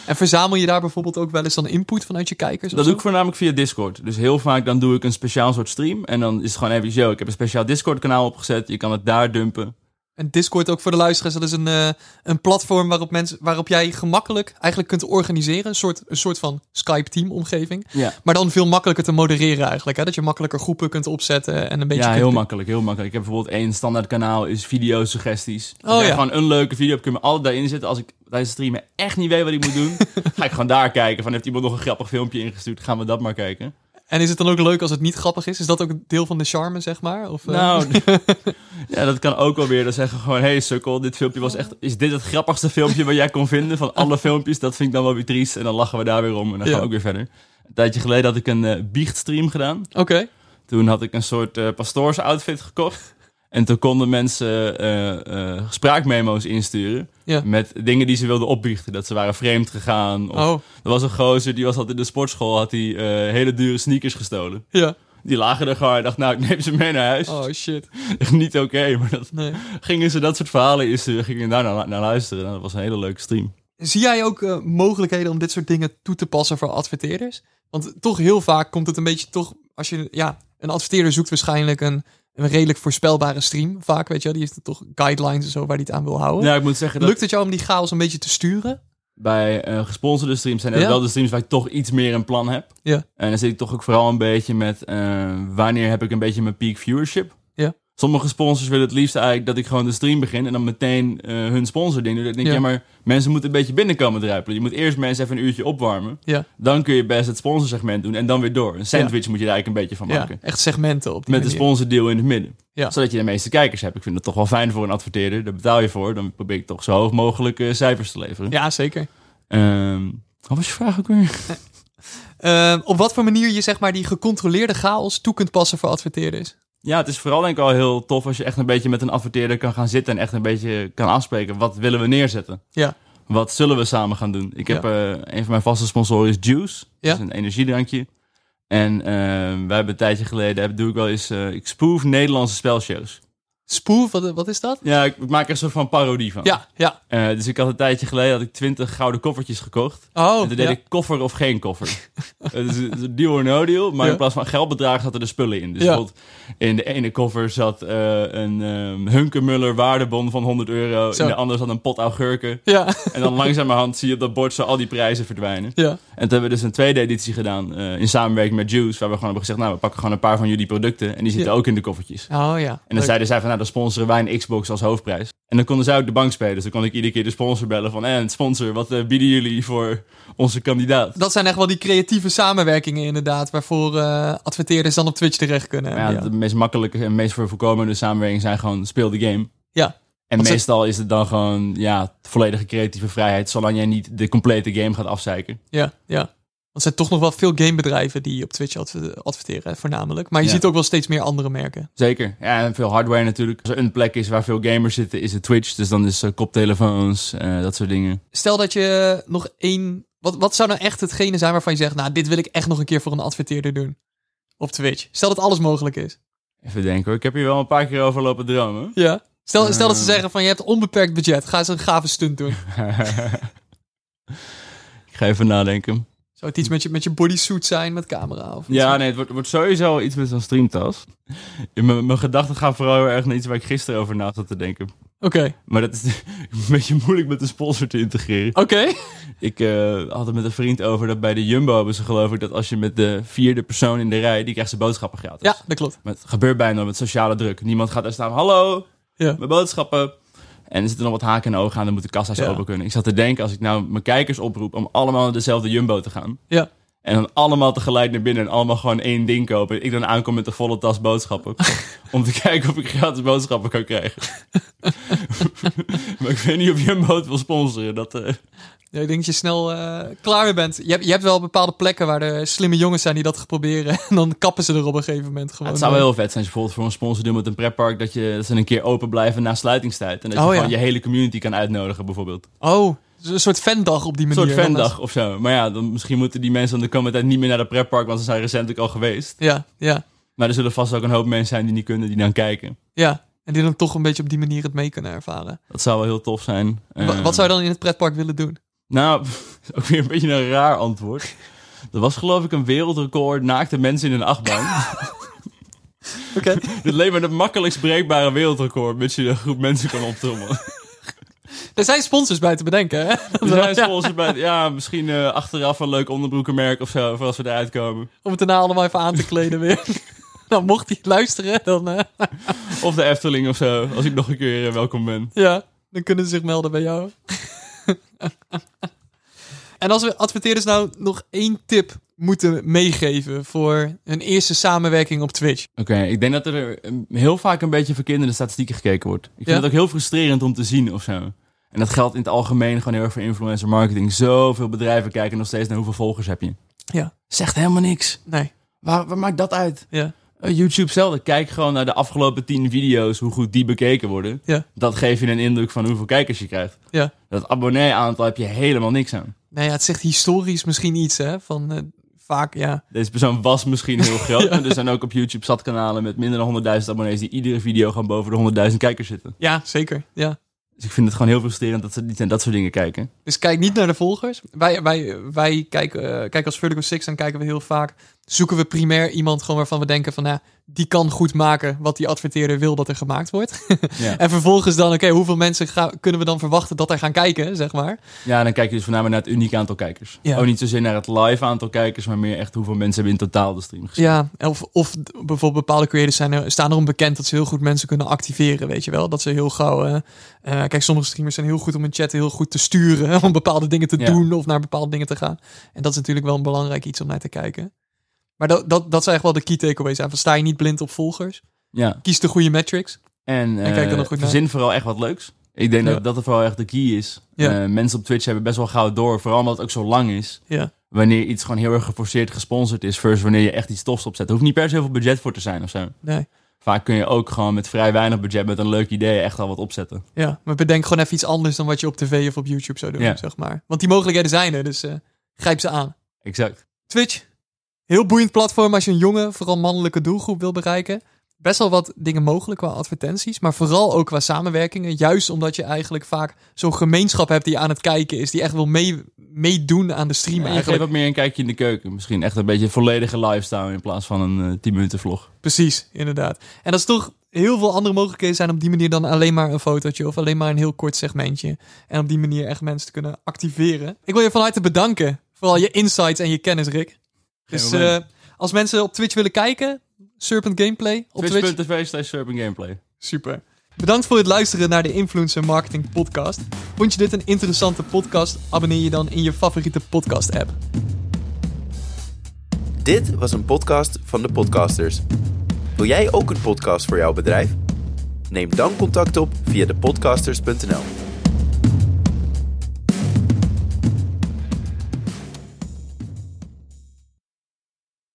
Speaker 1: En verzamel je daar bijvoorbeeld ook wel eens dan input vanuit je kijkers? of
Speaker 2: dat
Speaker 1: zo?
Speaker 2: doe ik voornamelijk via Discord. Dus heel vaak dan doe ik een speciaal soort stream. En dan is het gewoon even, yo, ik heb een speciaal Discord kanaal opgezet. Je kan het daar dumpen.
Speaker 1: En Discord ook voor de luisteraars, dat is een, eh, een platform waarop, mensen, waarop jij gemakkelijk eigenlijk kunt organiseren. Een soort, een soort van Skype-team-omgeving.
Speaker 2: Ja.
Speaker 1: Maar dan veel makkelijker te modereren eigenlijk. Hè? Dat je makkelijker groepen kunt opzetten en een beetje...
Speaker 2: ja,
Speaker 1: kunt-
Speaker 2: heel makkelijk, heel makkelijk. Ik heb bijvoorbeeld één standaard kanaal, is video-suggesties. Als
Speaker 1: Oh,
Speaker 2: jij
Speaker 1: ja.
Speaker 2: Gewoon een leuke video, kun je me altijd daarin zetten. Als ik tijdens het streamen echt niet weet wat ik moet doen, ga ik gewoon daar kijken. Van, heeft iemand nog een grappig filmpje ingestuurd? Gaan we dat maar kijken.
Speaker 1: En is het dan ook leuk als het niet grappig is? Is dat ook een deel van de charme, zeg maar? Of, eh,
Speaker 2: Nou, ja, dat kan ook wel weer. Dan zeggen gewoon, hey sukkel, dit filmpje was echt... Is dit het grappigste filmpje wat jij kon vinden van alle filmpjes? Dat vind ik dan wel weer triest. En dan lachen we daar weer om en dan gaan
Speaker 1: Ja.
Speaker 2: we ook weer verder. Een tijdje geleden had ik een eh, biechtstream gedaan.
Speaker 1: Oké.
Speaker 2: Toen had ik een soort eh pastoorsoutfit gekocht. En toen konden mensen eh, eh, spraakmemo's insturen.
Speaker 1: Ja.
Speaker 2: Met dingen die ze wilden opbiechten. Dat ze waren vreemd gegaan. Of,
Speaker 1: Oh,
Speaker 2: Er was een gozer, die was altijd in de sportschool. Had hij eh, hele dure sneakers gestolen.
Speaker 1: ja.
Speaker 2: Die lagen er gewoon. Hij dacht, nou, ik neem ze mee naar huis.
Speaker 1: Oh, shit.
Speaker 2: Echt Niet oké, maar dat,
Speaker 1: Nee.
Speaker 2: gingen ze dat soort verhalen insturen. Gingen daar naar, naar luisteren. Nou, dat was een hele leuke stream.
Speaker 1: Zie jij ook eh, mogelijkheden om dit soort dingen toe te passen voor adverteerders? Want toch heel vaak komt het een beetje toch... Als je, ja, een adverteerder zoekt waarschijnlijk een, een redelijk voorspelbare stream. Vaak, weet je wel. Die heeft toch guidelines en zo waar hij het aan wil houden.
Speaker 2: Nou, ik moet zeggen dat
Speaker 1: Lukt het jou om die chaos een beetje te sturen?
Speaker 2: bij eh, gesponsorde streams zijn dat
Speaker 1: Ja.
Speaker 2: wel de streams waar ik toch iets meer een plan heb.
Speaker 1: Ja.
Speaker 2: En dan zit ik toch ook vooral een beetje met eh, wanneer heb ik een beetje mijn peak viewership.
Speaker 1: Ja.
Speaker 2: Sommige sponsors willen het liefst eigenlijk dat ik gewoon de stream begin en dan meteen eh, hun sponsording doe. Dan denk ik,
Speaker 1: Ja.
Speaker 2: ja. maar mensen moeten een beetje binnenkomen druipelen. Je moet eerst mensen even een uurtje opwarmen.
Speaker 1: Ja.
Speaker 2: Dan kun je best het sponsorsegment doen en dan weer door. Een sandwich moet je daar eigenlijk een beetje van
Speaker 1: Ja,
Speaker 2: maken.
Speaker 1: echt segmenten op die
Speaker 2: Met een
Speaker 1: manier.
Speaker 2: sponsordeal in het midden.
Speaker 1: Ja.
Speaker 2: Zodat je de meeste kijkers hebt. Ik vind dat toch wel fijn voor een adverteerder. Daar betaal je voor. Dan probeer ik toch zo hoog mogelijk eh, cijfers te leveren.
Speaker 1: Ja, zeker.
Speaker 2: Ehm wat was je vraag ook weer?
Speaker 1: Eh, op wat voor manier je zeg maar die gecontroleerde chaos toe kunt passen voor adverteerders?
Speaker 2: Ja, het is vooral denk ik al heel tof als je echt een beetje met een adverteerder kan gaan zitten en echt een beetje kan afspreken. Wat willen we neerzetten?
Speaker 1: Ja.
Speaker 2: Wat zullen we samen gaan doen? Ik heb eh, een van mijn vaste sponsoren is Juice.
Speaker 1: Ja.
Speaker 2: Dat is een energiedrankje. En eh, wij hebben een tijdje geleden, heb- doe ik wel eens, eh, ik spoof Nederlandse spelshows.
Speaker 1: Spoof, wat, wat is dat?
Speaker 2: Ja, ik, ik maak er een soort van parodie van.
Speaker 1: Ja, ja.
Speaker 2: Eh, dus ik had een tijdje geleden, had ik twintig gouden koffertjes gekocht.
Speaker 1: Oh,
Speaker 2: en toen deed
Speaker 1: ja.
Speaker 2: ik koffer of geen koffer. Het is het is een deal or no deal, maar
Speaker 1: Ja.
Speaker 2: in plaats van geldbedrag zaten er spullen in. Dus
Speaker 1: Ja.
Speaker 2: bijvoorbeeld in de ene koffer zat eh, een ehm Hunkemuller waardebon van 100 euro.
Speaker 1: Zo.
Speaker 2: In de andere zat een pot augurken.
Speaker 1: Ja,
Speaker 2: En dan langzamerhand zie je op dat bord zo al die prijzen verdwijnen.
Speaker 1: ja.
Speaker 2: En toen hebben we dus een tweede editie gedaan eh, in samenwerking met Juice. Waar we gewoon hebben gezegd, nou we pakken gewoon een paar van jullie producten. En die zitten
Speaker 1: Ja.
Speaker 2: ook in de koffertjes.
Speaker 1: Oh ja.
Speaker 2: En dan zeiden zij van, nou, dan sponsoren wij een Xbox als hoofdprijs. En dan konden zij ook de bank spelen. Dus dan kon ik iedere keer de sponsor bellen van... En sponsor, wat eh, bieden jullie voor onze kandidaat?
Speaker 1: Dat zijn echt wel die creatieve samenwerkingen inderdaad, waarvoor eh, adverteerders dan op Twitch terecht kunnen.
Speaker 2: Maar ja,
Speaker 1: ja.
Speaker 2: de meest makkelijke en meest voor voorkomende samenwerking zijn gewoon speel de game.
Speaker 1: Ja.
Speaker 2: En
Speaker 1: Want ze-
Speaker 2: meestal is het dan gewoon, ja, volledige creatieve vrijheid. Zolang jij niet de complete game gaat afzeiken.
Speaker 1: ja, ja. Want er zijn toch nog wel veel gamebedrijven die op Twitch adver- adverteren, hè, voornamelijk. Maar je
Speaker 2: Ja.
Speaker 1: ziet ook wel steeds meer andere merken.
Speaker 2: Zeker. Ja, en veel hardware natuurlijk. Als er een plek is waar veel gamers zitten, is het Twitch. Dus dan is eh, koptelefoons, eh, dat soort dingen.
Speaker 1: Stel dat je nog één... Wat, wat zou nou echt hetgene zijn waarvan je zegt, nou, dit wil ik echt nog een keer voor een adverteerder doen? Op Twitch. Stel dat alles mogelijk is.
Speaker 2: Even denken hoor. Ik heb hier wel een paar keer over lopen dromen.
Speaker 1: Ja. Stel, stel dat ze
Speaker 2: Eh.
Speaker 1: zeggen van je hebt onbeperkt budget, ga eens een gave stunt doen.
Speaker 2: ik ga even nadenken.
Speaker 1: Zou het iets met je, met je bodysuit zijn met camera? Of
Speaker 2: Ja, nee, het wordt, wordt sowieso iets met zo'n streamtas. Mijn mijn gedachten gaan vooral heel erg naar iets waar ik gisteren over na zat te denken.
Speaker 1: Oké,
Speaker 2: Maar dat is een beetje moeilijk met een sponsor te integreren.
Speaker 1: oké.
Speaker 2: Ik eh, had het met een vriend over dat bij de Jumbo hebben ze geloof ik... dat als je met de vierde persoon in de rij, die krijgt zijn boodschappen gratis.
Speaker 1: Ja, dat klopt.
Speaker 2: Maar het gebeurt bijna met sociale druk. Niemand gaat daar staan, hallo,
Speaker 1: Ja.
Speaker 2: mijn boodschappen. En er zitten nog wat haken en ogen aan, dan moeten kassa's
Speaker 1: Ja.
Speaker 2: open kunnen. Ik zat te denken, als ik nou mijn kijkers oproep om allemaal naar dezelfde Jumbo te gaan.
Speaker 1: Ja.
Speaker 2: En dan allemaal tegelijk naar binnen en allemaal gewoon één ding kopen. Ik dan aankom met de volle tas boodschappen. om te kijken of ik gratis boodschappen kan krijgen. maar ik weet niet of Jumbo het wil sponsoren. Dat, eh,
Speaker 1: Ja, ik denk dat je snel eh, klaar weer bent. Je hebt, je hebt wel bepaalde plekken waar er slimme jongens zijn die dat gaan proberen. En dan kappen ze er op een gegeven moment
Speaker 2: Ja,
Speaker 1: gewoon.
Speaker 2: het zou wel heel vet zijn als je bijvoorbeeld voor een sponsor doet met een pretpark... Dat, je, dat ze een keer open blijven na sluitingstijd. En dat je
Speaker 1: Oh,
Speaker 2: gewoon
Speaker 1: ja.
Speaker 2: je hele community kan uitnodigen bijvoorbeeld.
Speaker 1: Oh, z- een soort fandag op die
Speaker 2: Een
Speaker 1: manier.
Speaker 2: soort
Speaker 1: Dan
Speaker 2: fandag of zo. Maar ja, dan, misschien moeten die mensen dan de komende tijd niet meer naar de pretpark... want ze zijn recentelijk al geweest.
Speaker 1: is- Ja, ja,
Speaker 2: Maar er zullen vast ook een hoop mensen zijn die niet kunnen, die dan kijken.
Speaker 1: ja. En die dan toch een beetje op die manier het mee kunnen ervaren.
Speaker 2: Dat zou wel heel tof zijn.
Speaker 1: Wa-
Speaker 2: Eh,
Speaker 1: Wat zou je dan in het pretpark willen doen?
Speaker 2: Nou, ook weer een beetje een raar antwoord. Er was geloof ik een wereldrecord naakte mensen in een achtbaan.
Speaker 1: Oké.
Speaker 2: Dit leek me het makkelijkst breekbare wereldrecord, met je een groep mensen kan optrommelen.
Speaker 1: Er zijn sponsors bij te bedenken, hè?
Speaker 2: Dus wij sponsoren bij, ja, misschien eh, achteraf een leuk onderbroekenmerk of zo, voor als we eruit komen.
Speaker 1: Om het daarna allemaal even aan te kleden weer. Dan mocht hij luisteren, dan, eh,
Speaker 2: Of de Efteling of zo, als ik nog een keer eh, welkom ben.
Speaker 1: ja, dan kunnen ze zich melden bij jou. en als we adverteerders nou nog één tip moeten meegeven voor hun eerste samenwerking op Twitch.
Speaker 2: Oké, ik denk dat er eh, heel vaak een beetje voor kinderen statistieken gekeken wordt. Ik vind
Speaker 1: Ja.
Speaker 2: het ook heel frustrerend om te zien of zo. En dat geldt in het algemeen gewoon heel erg voor influencer marketing. Zoveel bedrijven kijken nog steeds naar hoeveel volgers heb je.
Speaker 1: Ja.
Speaker 2: Zegt helemaal niks.
Speaker 1: Nee,
Speaker 2: Waar, waar maakt dat uit?
Speaker 1: ja.
Speaker 2: Eh, YouTube zelf. Kijk gewoon naar de afgelopen 10 video's, hoe goed die bekeken worden.
Speaker 1: Ja.
Speaker 2: Dat geeft je een indruk van hoeveel kijkers je krijgt.
Speaker 1: Ja.
Speaker 2: Dat abonnee-aantal heb je helemaal niks aan.
Speaker 1: Nou ja, het zegt historisch misschien iets, hè? Van eh, vaak, ja.
Speaker 2: Deze persoon was misschien heel groot. Maar er zijn ook op YouTube zat kanalen met minder dan 100.000 abonnees... die iedere video gewoon boven de 100.000 kijkers zitten.
Speaker 1: Ja, zeker. Ja.
Speaker 2: Dus ik vind het gewoon heel frustrerend dat ze niet naar dat soort dingen kijken.
Speaker 1: Dus kijk niet naar de volgers. Wij, wij, wij kijken, eh, kijk als Vertical Six, dan kijken we heel vaak. Zoeken we primair iemand gewoon waarvan we denken van, nou, die kan goed maken wat die adverteerder wil dat er gemaakt wordt.
Speaker 2: Ja,
Speaker 1: En vervolgens dan, oké, hoeveel mensen ga- kunnen we dan verwachten dat er gaan kijken, zeg maar.
Speaker 2: ja dan kijk je dus voornamelijk naar het unieke aantal kijkers.
Speaker 1: Ja.
Speaker 2: Ook niet zozeer naar het live aantal kijkers, maar meer echt hoeveel mensen hebben in totaal de stream gezien.
Speaker 1: Ja, of, of d- bijvoorbeeld bepaalde creators zijn er, staan erom bekend dat ze heel goed mensen kunnen activeren, weet je wel. Dat ze heel gauw... eh, eh, kijk, sommige streamers zijn heel goed om hun chat heel goed te sturen, hè, om bepaalde dingen te
Speaker 2: Ja.
Speaker 1: doen of naar bepaalde dingen te gaan. En dat is natuurlijk wel een belangrijk iets om naar te kijken. Maar dat, dat, dat zijn echt wel de key takeaways aan. Van, sta je niet blind op volgers?
Speaker 2: Ja.
Speaker 1: Kies de goede metrics.
Speaker 2: En, eh
Speaker 1: kijk dan nog goed naar.
Speaker 2: verzin vooral echt wat leuks. Ik denk
Speaker 1: Ja.
Speaker 2: dat dat er vooral echt de key is.
Speaker 1: Ja.
Speaker 2: Eh, mensen op Twitch hebben best wel gauw door, vooral omdat het ook zo lang is.
Speaker 1: Ja.
Speaker 2: Wanneer iets gewoon heel erg geforceerd gesponsord is, versus wanneer je echt iets tofs opzet. Er hoeft niet per se heel veel budget voor te zijn of zo.
Speaker 1: Nee.
Speaker 2: Vaak kun je ook gewoon met vrij weinig budget, met een leuk idee, echt al wat opzetten.
Speaker 1: Ja, maar bedenk gewoon even iets anders dan wat je op tv of op YouTube zou doen,
Speaker 2: Ja.
Speaker 1: zeg maar. Want die mogelijkheden zijn er, dus eh, grijp ze aan.
Speaker 2: Exact.
Speaker 1: Twitch. Heel boeiend platform als je een jonge, vooral mannelijke doelgroep wil bereiken. Best wel wat dingen mogelijk qua advertenties, maar vooral ook qua samenwerkingen. Juist omdat je eigenlijk vaak zo'n gemeenschap hebt die aan het kijken is, die echt wil mee, meedoen aan de stream
Speaker 2: Maar je geeft
Speaker 1: eigenlijk.
Speaker 2: wat meer een kijkje in de keuken. Misschien echt een beetje een volledige lifestyle in plaats van een eh, 10 minuten vlog.
Speaker 1: Precies, inderdaad. En dat is toch heel veel andere mogelijkheden zijn op die manier dan alleen maar een fotootje of alleen maar een heel kort segmentje. En op die manier echt mensen te kunnen activeren. Ik wil je van harte bedanken voor al je insights en je kennis, Rick.
Speaker 2: Geen
Speaker 1: Dus
Speaker 2: probleem.
Speaker 1: eh, als mensen op Twitch willen kijken, Serpent Gameplay op Twitch.
Speaker 2: Twitch.tv slash Serpent Gameplay.
Speaker 1: Super. Bedankt voor het luisteren naar de Influencer Marketing Podcast. Vond je dit een interessante podcast? Abonneer je dan in je favoriete podcast app.
Speaker 3: Dit was een podcast van de podcasters. Wil jij ook een podcast voor jouw bedrijf? Neem dan contact op via depodcasters.nl.